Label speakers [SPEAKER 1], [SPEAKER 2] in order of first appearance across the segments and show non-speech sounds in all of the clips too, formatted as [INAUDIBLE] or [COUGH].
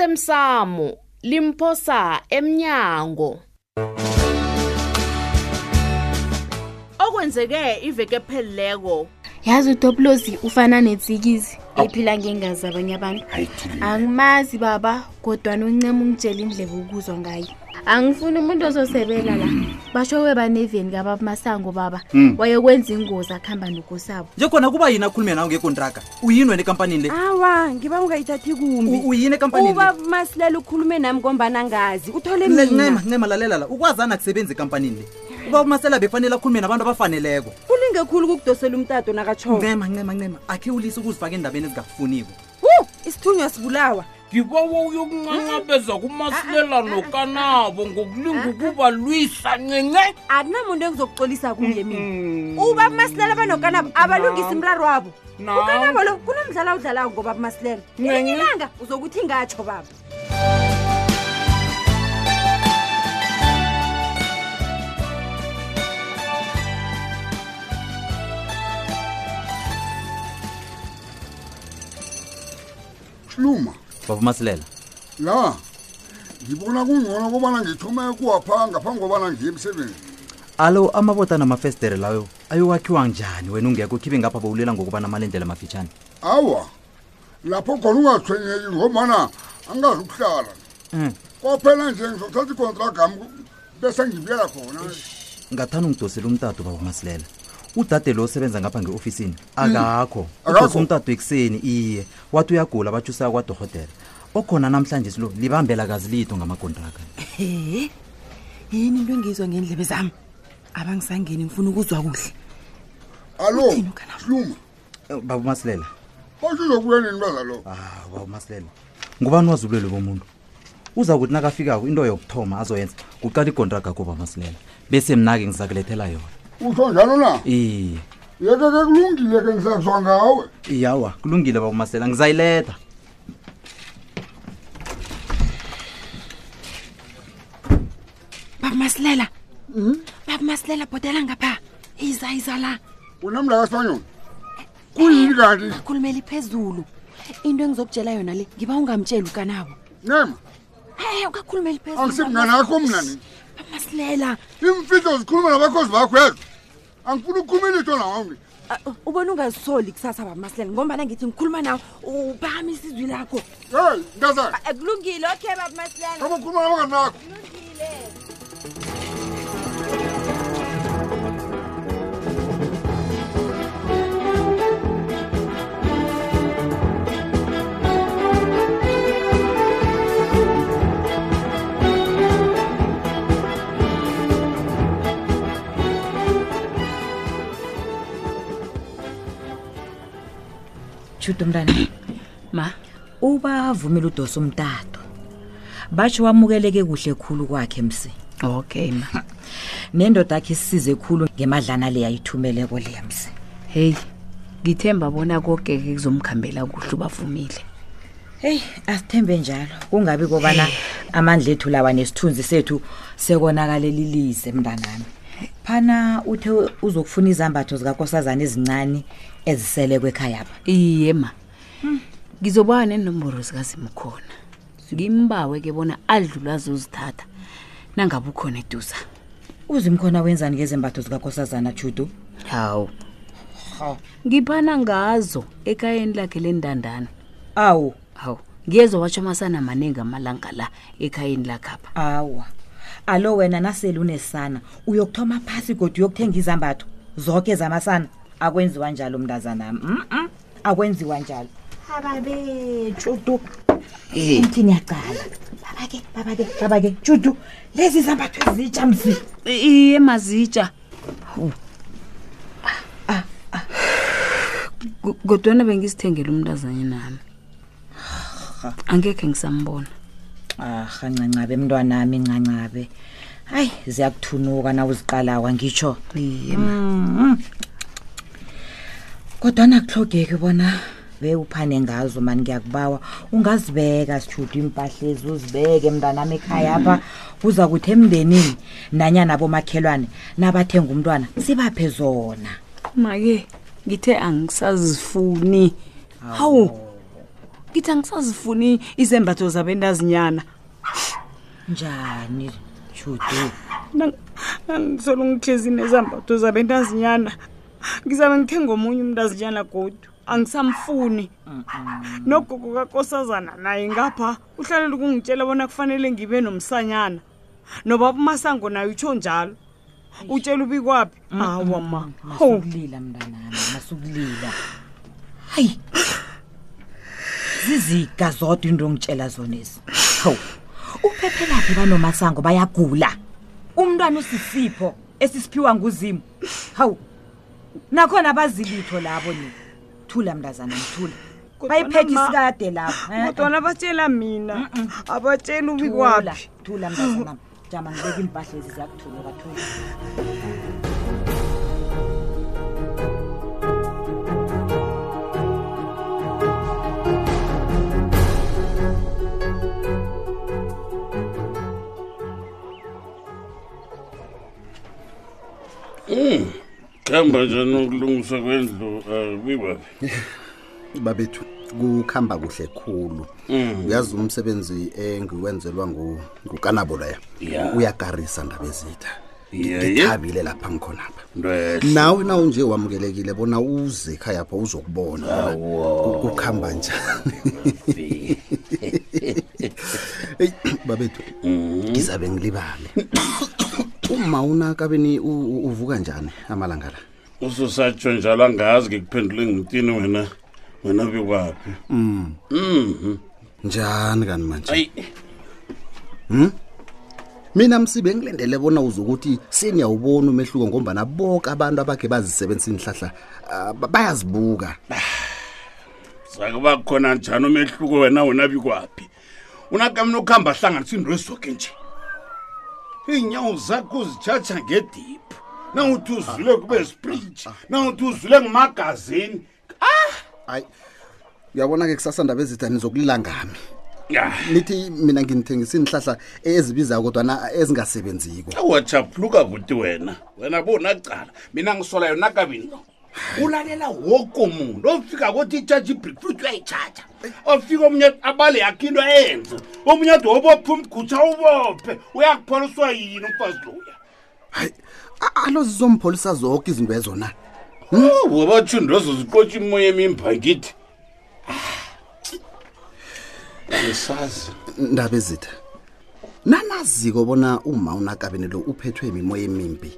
[SPEAKER 1] osemsamo limphosa emnyango
[SPEAKER 2] okwenzeke iveke phelileko
[SPEAKER 3] yazi udoblozi ufana netsikizi ephila ngengazi abanye abantu
[SPEAKER 4] hayi thuli
[SPEAKER 3] angimazi baba kodwa noncema ungitshela indlela ukuzwa ngayo angifuni umuntu ozosebela la basho webaneveni kababa masango baba wayekwenza ingozi akuhamba nokosabo
[SPEAKER 5] nje khona kuba yini akhulume nawe ngekontraka uyini wena ekampanini le
[SPEAKER 6] awa ngiba ungayithathi kumbi
[SPEAKER 5] U- uyini ekampanini
[SPEAKER 6] Ah, uba masilela ukhulume nami ngombana ngazi
[SPEAKER 5] le
[SPEAKER 6] uthole mina
[SPEAKER 5] ncema ncema lalela la ukwazana akusebenzi ekampanini le uba umasela befanele akhulume nabantu abafaneleko
[SPEAKER 6] ulinge khulu ukukudosela umtato nakatshoko
[SPEAKER 5] ncema ncema ncema akhe ulise ukuzifaka endabeni ezingakufuniko
[SPEAKER 6] isithunywa sibulawa
[SPEAKER 7] ngibawa uyokuncancabeza kumasilelano kanabo ngokulinga ukuba lwisa ncince
[SPEAKER 6] akunamuntu engizokuxolisa kuye mina uba masilela abanokanabo abalungisi imraro wabo
[SPEAKER 7] Nawu.
[SPEAKER 6] ukanabo lo kunomdlalo awudlalako ngobaba masilela elinye
[SPEAKER 7] Nyenye.
[SPEAKER 6] ilanga uzokuthi ngatsho baba
[SPEAKER 8] hluma
[SPEAKER 5] baba umasilela
[SPEAKER 8] la ngibona kungcono kobana ngithome kuwapha ngaphambi kobana ngiye emsebenzini
[SPEAKER 5] alo amabota namafestere layo ayokwakhiwa njani wena ungekho khibe ngapha bawulela ngokubana amalendela amafitshane
[SPEAKER 8] awa lapho khona ungathwenyeki ngombana angazi ukuhlala
[SPEAKER 5] Mm.
[SPEAKER 8] kwaphela nje ngizothatha icontragam bese ngibuyela khona
[SPEAKER 5] ngathanda ungidosela umtato baba umasilela udade lo osebenza ngapha nge-ofisini akakho
[SPEAKER 8] Akakho.
[SPEAKER 5] udosa umtato ekuseni iye wathi uyagula batshusaya kwadorhotela okhona namhlanje silo libambela kazi lito ngamakontraka
[SPEAKER 9] he yini into engizwa ngendlebe zami abangisangeni ngifuna ukuzwa kuhle
[SPEAKER 8] alo
[SPEAKER 9] Uthini ukanabo?
[SPEAKER 8] hluma
[SPEAKER 5] Eh, baba umasilela
[SPEAKER 8] basho uzokuya nini baza lo
[SPEAKER 5] ah baba umasilela ngubani wazibulelo bomuntu uza kuthi nakafikako into yokuthoma azoyenza kuqala ikontraga kuba masilela bese mna-ke ngizakulethela yona
[SPEAKER 8] utsho njalo na
[SPEAKER 5] iye
[SPEAKER 8] yeke ke kulungile ke ngisazwa ngawe
[SPEAKER 5] iyawa kulungile baba umasilela ngizayiletha
[SPEAKER 9] baba masilela baba masilela bhodela ngapha iza iza la
[SPEAKER 8] unamla kasibanyoni kuyini kanti
[SPEAKER 9] khulumela iphezulu into engizokutshela yona le ngiba ungamtsheli ukanabo
[SPEAKER 8] nema
[SPEAKER 9] e ungakhulumela iphezulu
[SPEAKER 8] angisemnganakho mna nini
[SPEAKER 9] baba masilela
[SPEAKER 8] imfihlo zikhuluma nabakhozi bakho yezo angifuna ukukhuluma ilitho nawe
[SPEAKER 6] Ah, ubona ungazisoli kusasa baba masilela ngombana ngithi ngikhuluma nawe uphakamisa izwi lakho
[SPEAKER 8] hey ntazana
[SPEAKER 6] Ah, kulungile okay baba masilela
[SPEAKER 8] kama ukhuluma nabanganakho
[SPEAKER 10] jude mntana
[SPEAKER 9] ma
[SPEAKER 10] ubavumela udosa umtato batsho wamukeleke kuhle khulu kwakhe msi
[SPEAKER 9] okay ma
[SPEAKER 10] nendoda akhe isisize khulu ngemadlana le ayithumeleko leya msi
[SPEAKER 9] heyi ngithemba bona kokeke kuzomkhambela kuhle ubavumile
[SPEAKER 10] heyi asithembe njalo kungabi kobana amandla ethu lawa nesithunzi sethu sekonakalelilize mntanami phana uthe uzokufuna izambatho zikakosazana ezincane eziselekwe ekhayapha
[SPEAKER 9] iye ma
[SPEAKER 3] Hmm.
[SPEAKER 9] ngizobawa nenomboro zikazimkhona ngimbawe ke bona adlula azozithatha nangabe ukhona eduza
[SPEAKER 10] uzimkhona wenzani ngezembatho zikakosazana judu
[SPEAKER 9] hawu ngiphana ngazo ekhayeni lakhe lendandana
[SPEAKER 10] awu
[SPEAKER 9] hawu ngiyezwa watsho amasana maningi amalanga la ekhayeni lakhapha
[SPEAKER 10] awa alo wena nasele unesana uyokuthoma phasi kodwa uyokuthenga izambatho zonke zamasana akwenziwa njalo mntazanami mm -mm. akwenziwa njalo Eh. ababe judu umthini yacala babake babake babake judu lezi zambatho ezitsha msi
[SPEAKER 9] iye mazitsha Ko- kodwana bengizithengela umntazanye nami angekhe ngisambona
[SPEAKER 10] arha ncancabe mntwanami ncancabe hayi ziyakuthunuka na uziqalawa ngitsho
[SPEAKER 9] iye
[SPEAKER 10] Mhm. kodwana kuhlogeki bona be uphane ngazo mani ngiyakubawa ungazibeka sithuthi impahla ezi uzibeke mntanami ekhaya pha kuza kuthi emndenini nanyana bomakhelwane nabathenga umntwana sibaphe zona
[SPEAKER 9] ma-ke ngithe angisazifuni hawu ngithi angisazifuni izembatho zabentazinyana
[SPEAKER 10] njani judu
[SPEAKER 9] nangisolo ngihlezi nezambatho zabentazinyana ngizabe ngithenga omunye umntazinyana godu angisamfuni nogogo kakosazana naye ngapha uhlalele ukungitshela bona kufanele ngibe nomsanyana nobaba umasango naye utsho njalo utshela ubikwaphi awa ma Hawu.
[SPEAKER 10] masukulila mntanami masukulila hayi ziziga zodwa into ongitshela zona ezi hawu uphephelaphi banomasango bayagula umntwana usisipho esisiphiwa nguzimu hawu nakhona bazilitho labo ni thula mntazana mthula bayiphethe isikade lapho eh, eh.
[SPEAKER 9] kodwana batshela mina abatsheli
[SPEAKER 10] Thula,
[SPEAKER 9] ubikwaphi
[SPEAKER 10] thula mntazanam jama ngibeka iimpahla ezi ziyakuthuluka thula
[SPEAKER 8] khamba njani ukulungisa kwendlu eh, bibabi
[SPEAKER 5] babethu kukhamba kuhle khulu uyazi umsebenzi engiwenzelwa ngu- ngukanabo loya
[SPEAKER 8] Ya.
[SPEAKER 5] uyakarisa ndaba ezitha
[SPEAKER 8] yeye
[SPEAKER 5] ngithabile lapha ngikhonapha
[SPEAKER 8] ntwehle
[SPEAKER 5] nawe naunje wamukelekile bona uze ekhaya pho uzokubona bona ku- kukhamba njani eyi babethu ngizabe ngilibale [COUGHS] uma unakabeni u- u- uvuka njani amalanga la
[SPEAKER 8] ususatsho njalo angazi ngikuphendule ngitini wena wena bikwaphi
[SPEAKER 5] njani kani manje Hmm?
[SPEAKER 8] ayi
[SPEAKER 5] mina msibe ngilendele bona uzokuthi seniyawubona umehluko ngombana boke abantu abakhe bazisebenzisa inihlahla ah, ba- bayazibuka
[SPEAKER 8] sakuba khona njani umehluko wena wena bikwaphi unakamna ukuhamba ahlanganisa into ezoke nje iinyawo zakho uzitshatsha ngediphu nawuthi uzule kube spriji nawuthi uzule ngumagazini
[SPEAKER 5] hayi uyabona-ke kusasa ndaba ezitha nizokulilangami
[SPEAKER 8] ya
[SPEAKER 5] nithi mina nginithengisa inihlahla ezibizayo kodwana ezingasebenziko
[SPEAKER 8] awajabuluka kuthi wena wena bonacala mina ngisola yona kabini lo ulalela woko muntu ofika kothi itshatsha ibreakfast uyayitshatsha ofika omunye abale yakho into ayenze omunye ade wobophe umgutsha ubophe uyakupholiswa yini umfazi loya
[SPEAKER 5] hayi a- alo zizompholisa zonke izinto ezona
[SPEAKER 8] wabatshundiwezo zixotsha imoya emimbangithi Ah. angisazi
[SPEAKER 5] ndaba ezitha nanaziko bona uma unakabeni lo uphethwe imimoya emimbi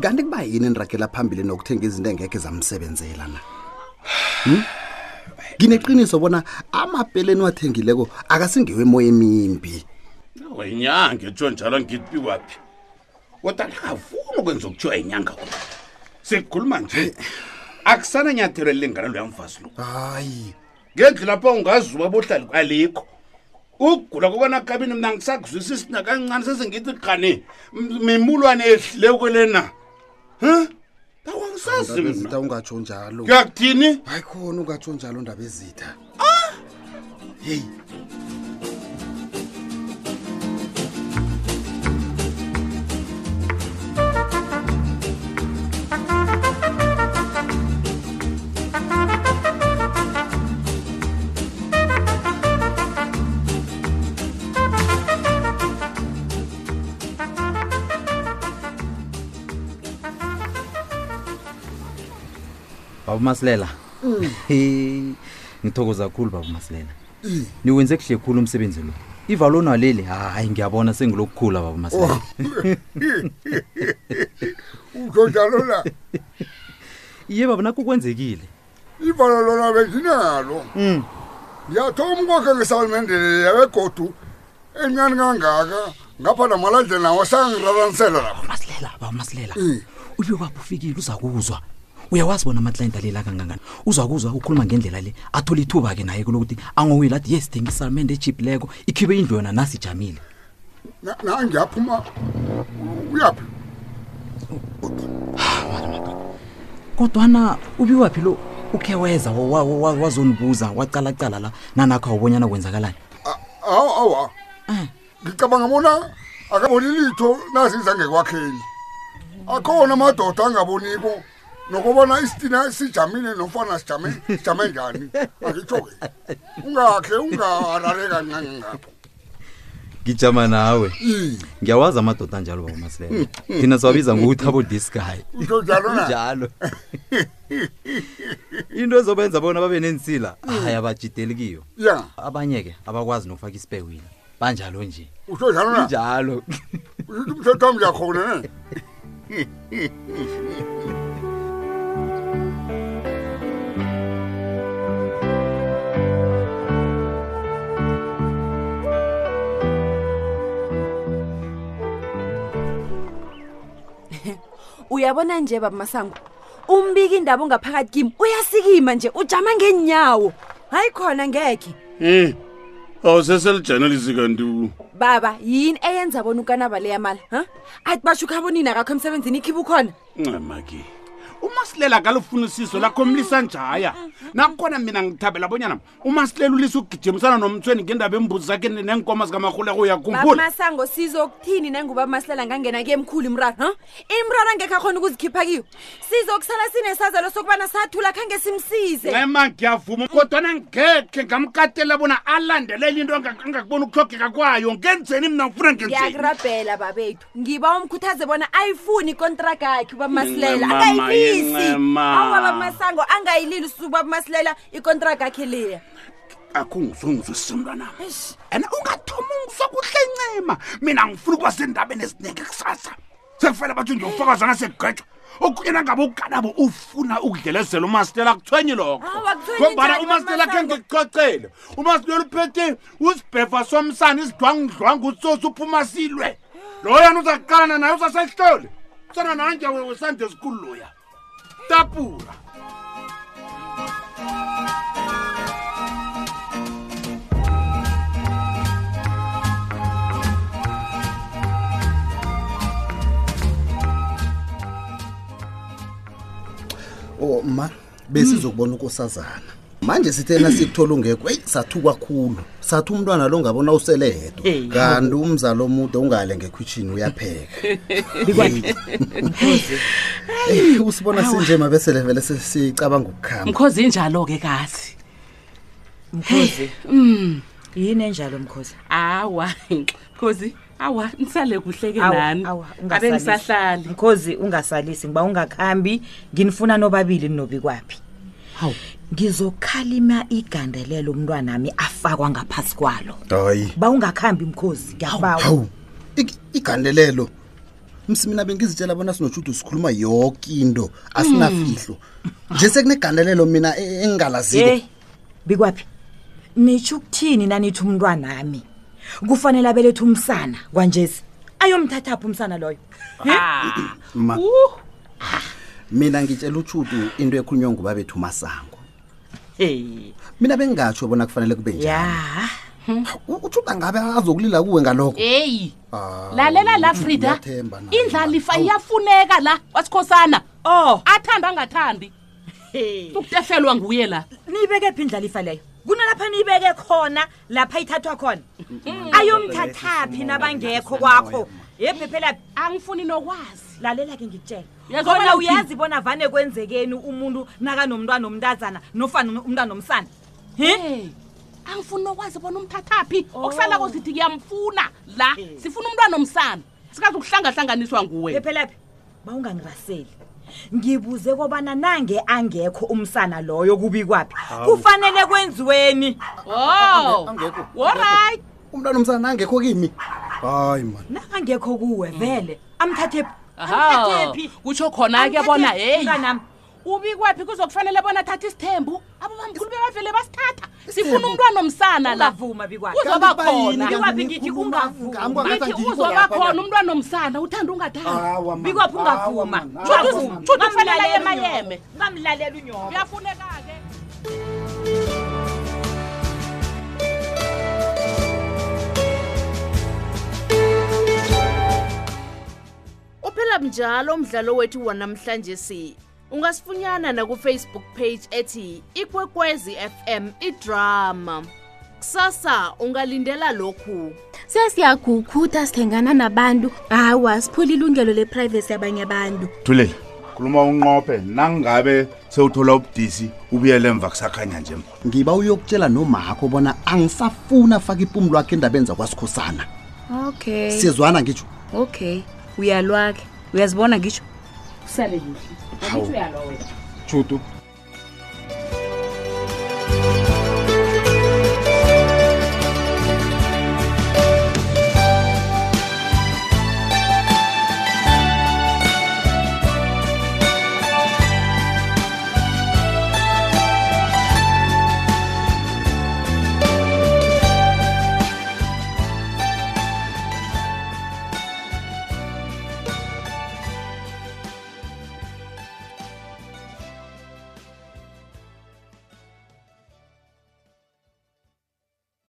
[SPEAKER 5] kanti kuba yini endirakela phambili nokuthenga izinto engekhe zamsebenzela na Hmm? ngineqiniso bona amapeleni wathengileko akasingewe emoya emimbi
[SPEAKER 8] wenyanga etsho njalo ngithi waphi kodwa ngingafuni ukwenza okuthiwa yinyanga kodwa sekukhuluma nje akusana nyathelo elilingana loya mfazi lo
[SPEAKER 5] hayi
[SPEAKER 8] ngendlu lapho ungazuba bohlali kwalikho ukugula kobanakabini mna ngisakuzwisa isina kancane sesengithi qane m- mimulwane ehlile kwelena h awangisazi mna
[SPEAKER 5] ungatsho njalo
[SPEAKER 8] kuyakuthini
[SPEAKER 5] hayi khona ungatsho njalo ndaba ezitha heyi
[SPEAKER 11] baba masilela
[SPEAKER 5] Hmm.
[SPEAKER 11] He, ngithokoza kakhulu baba masilela
[SPEAKER 5] Hmm.
[SPEAKER 11] niwenze kuhle khulu umsebenzi lo ivaloni waleli hayi ngiyabona sengilokukhula baba
[SPEAKER 5] Oh.
[SPEAKER 11] masilela
[SPEAKER 12] utsho njalo la
[SPEAKER 11] iye baba nakho kwenzekile
[SPEAKER 12] ivalo lona benginalo ngiyathoma ukwakhe ngesalumendeleya begodu encane kangaka ngapha namalandle nawo sangiraranisela lapha
[SPEAKER 11] masilela baba masilela uyokwapho ufikile uzakuzwa uyawazi bona amaklayenti alela kangangani uzakuzwa ukhuluma ngendlela le athole ithuba-ke naye kulokuthi angowile athi yes thengisalmende echipileko ikhibe indlu yona nasijamile
[SPEAKER 12] nangiyaphuma uyaphi
[SPEAKER 11] kodwana ubiwaphi lo ukhe weza wa- wa- wa- wazonibuza wacalacala la nanakho awubonyana kwenzakalani
[SPEAKER 12] awa awa ngicabanga bona akaboni litho naziza ngekwakheni akhona amadoda angaboniko
[SPEAKER 8] nokubona isitina sijamile nofana sijame sijame njani akitsho-ke ungakhe ungarare kancane ngapho
[SPEAKER 5] ngijama nawe ngiyawazi amadoda anjalo babamasilela thina siwabiza ngokuthi abodisky
[SPEAKER 8] utsho njalo na
[SPEAKER 5] njalo into ezobenza bona babe nensila hayi abajideli kiyo
[SPEAKER 8] ya
[SPEAKER 5] abanye-ke abakwazi nokufaka isipewini banjalo nje
[SPEAKER 8] utsho njalo na
[SPEAKER 5] njalo
[SPEAKER 8] ushuthi umthetho wami uyakhona ne
[SPEAKER 6] uyabona nje baba masango umbiki indaba ongaphakathi kimi uyasikima nje ujama ngeenyawo hayi khona ngekhe
[SPEAKER 7] um awuseselijanelisi kanti
[SPEAKER 6] baba yini eyenza bona ukanaba leyamala ha athi basho ukhabonini akakho emsebenzini ikhibe ukhona
[SPEAKER 7] ncamaki Ah, umasilela kalufuniso lakho mlisa njaya nakhona mina ngithabela bonyana umasilela ulisa ugijimisana nomthweni ngendaba embuzi zakhe nenkomo zikamarhuleko
[SPEAKER 6] baba
[SPEAKER 7] uyakhumbula
[SPEAKER 6] masango sizokuthini nanguba masilela ngangena kuye mkhulu imraro ha imraro angekho akhona ukuzikhipha kiyo sizokusala sinesazelo sokubana sathula khange simsize
[SPEAKER 7] ncema ngiyavuma kodwana ngekhe ngamkatela bona alandelele into anga- angakuboni ukuhlogeka kwayo ngenzeni mina ngifuna ngenzeni
[SPEAKER 6] ngiyakurabhela babethu ngiba umkhuthaze bona ayifuni ikontraga yakhe ubaba masilela
[SPEAKER 7] Incema,
[SPEAKER 6] angayilisi
[SPEAKER 7] incema.
[SPEAKER 6] awubaba masango angayilisi ubaba masilela ikontraga yakhe leya
[SPEAKER 7] akungizongizwisisa mntwanam and ungathoma ungisokuhle ncema mina ngifuna ukuba sendabeni eziningi kusasa sekufanele bathi ndiyofakazana segwetshwa okunyena ngabe ukanabo ufuna ukudlelezela umasilela akuthwenyi lokho
[SPEAKER 6] Awu, akutshwenyi
[SPEAKER 7] ngombana
[SPEAKER 6] njani,
[SPEAKER 7] umasilela khe
[SPEAKER 6] Masango?
[SPEAKER 7] ngikucocele umasilela uphethe usibhefa somsane isidlwangudlwangu utsosi uphuma silwe lo yena uzaqalana naye usasehlole usana nanje wesande esikhulu loya tapura
[SPEAKER 4] o ma besizokubona ukosazana manje sithena sikuthola ungekho eyi sathi kwakhulu sathi umntwana lo ngabona usele yedwa
[SPEAKER 10] Hey.
[SPEAKER 4] kanti umzali omude ungale ngekhwitshini uyapheka Eyi, usibona sinje mabesele vele se- sicabanga ukukhamba
[SPEAKER 13] mkhozi injalo-ke kazi
[SPEAKER 10] mkhozi
[SPEAKER 13] um
[SPEAKER 10] yini enjalo mkhozi
[SPEAKER 13] awa mkhozi awa nisale kuhle-ke
[SPEAKER 10] Awa,
[SPEAKER 13] nami
[SPEAKER 10] awa,
[SPEAKER 13] abe
[SPEAKER 10] ungasalisi.
[SPEAKER 13] ngisahlali
[SPEAKER 10] mkhozi ungasalisi ngiba ungakhambi nginifuna nobabili nobi kwaphi hawu ngizokhalima igandelelo umntwanami afakwa ngaphasi kwalo
[SPEAKER 4] hayi
[SPEAKER 10] ba ungakhambi mkhozi ngiyabawa
[SPEAKER 4] hawu ik- igandelelo msi mina bengizitshela bona sinojude sikhuluma yoke into asinafihlo
[SPEAKER 5] Hmm.
[SPEAKER 4] nje sekunegandelelo mina e-
[SPEAKER 5] Eh.
[SPEAKER 4] engingalaziko
[SPEAKER 10] yeyi Eh, bikwaphi nitsho ukuthini nanithi umntwanami kufanele abelethe umsana kwanjesi ayomthathaphi umsana loyo
[SPEAKER 4] ma mina ngitshela ujudu into ekhulunywa nguba bethu masango
[SPEAKER 10] hey
[SPEAKER 4] mina bengingatsho bona kufanele kube
[SPEAKER 10] njani
[SPEAKER 4] U- ujudu angabe azokulila kuwe ngalokho
[SPEAKER 5] Eh.
[SPEAKER 13] heyi
[SPEAKER 4] Ah,
[SPEAKER 13] lalela la frida
[SPEAKER 4] ngiyathemba na.
[SPEAKER 13] indlalifa iyafuneka la wasikhosana
[SPEAKER 10] o
[SPEAKER 13] athanda angathandi ukutefelwa nguye la
[SPEAKER 10] niyibeke phi indlalifa leyo kunalapha niyibeke khona lapha ithathwa khona ayomthathaphi nabangekho kwakho yebhephela
[SPEAKER 13] angifuni nokwazi
[SPEAKER 10] lalela-ke ngikutshela
[SPEAKER 13] Uyazwa
[SPEAKER 10] khona
[SPEAKER 13] bona uthini?
[SPEAKER 10] uyazi bona vane kwenzekeni umuntu nakanomntwana omntazana nofana umntwana omsana
[SPEAKER 13] Hey, Eh, angifuni nokwazi bona umthathaphi okusalako sithi ngiyamfuna la sifuna umntwana omsana sikazi ukuhlangahlanganiswa nguwe
[SPEAKER 10] phephelaphi bawungangiraseli ngibuze kobana nange angekho umsana loyo kubi kwaphi kufanele kwenziweni
[SPEAKER 13] o olright
[SPEAKER 4] umntwana omsana angekho kimi hayi mani
[SPEAKER 10] nakangekho kuwe
[SPEAKER 4] Mm.
[SPEAKER 10] vele amthathephi
[SPEAKER 13] aha
[SPEAKER 10] amthathephi
[SPEAKER 13] kutsho khona-ke bona heyi
[SPEAKER 10] mntanami
[SPEAKER 13] ubikwaphi kuzokufanele bona athathe isithembu abo bamkhulu bebavele basithatha sifuna umntwana omsana la
[SPEAKER 10] ungavuma bikwakhe
[SPEAKER 13] uzoba
[SPEAKER 4] Kanti kuba yini
[SPEAKER 13] khona
[SPEAKER 4] kanti
[SPEAKER 10] Bikwaphi ngithi
[SPEAKER 4] nikhuluma
[SPEAKER 10] ungavumi.
[SPEAKER 4] ngami kwangathi
[SPEAKER 13] ngithi
[SPEAKER 4] angikho
[SPEAKER 13] uzoba
[SPEAKER 4] lapha
[SPEAKER 13] khona
[SPEAKER 4] kanti.
[SPEAKER 13] umntwana omsana uthanda ungathanda
[SPEAKER 4] Awa, man.
[SPEAKER 10] bikwaphi
[SPEAKER 4] Awa,
[SPEAKER 10] ungavuma
[SPEAKER 4] man.
[SPEAKER 13] Judu-
[SPEAKER 4] Awa, man.
[SPEAKER 13] Judu kufanele yemayeme
[SPEAKER 10] ungamlalela unyoko
[SPEAKER 13] kuyafuneka-ke
[SPEAKER 1] uphela mnjalo umdlalo wethu wanamhlanje si ungasifunyana nakufacebook page ethi ikwekwezi fm idrama kusasa ungalindela lokhu
[SPEAKER 3] sesiyagukhutha sithengana nabantu hawa siphula ilungelo leprivesi yabanye abantu
[SPEAKER 14] thulela
[SPEAKER 7] khuluma unqophe nangabe sewuthola ubudisi ubuyele emva kusakhanya nje
[SPEAKER 8] ngiba uyokutshela nomakho bona angisafuna afake ipumu lwakhe endabeni zakwasikhosana
[SPEAKER 3] okay
[SPEAKER 8] sizwana ngitsho
[SPEAKER 3] okay uyalwakhe uyazibona ngisho
[SPEAKER 15] usale kuhle
[SPEAKER 8] Hawu.
[SPEAKER 15] Angithi uyalwa wena
[SPEAKER 7] judu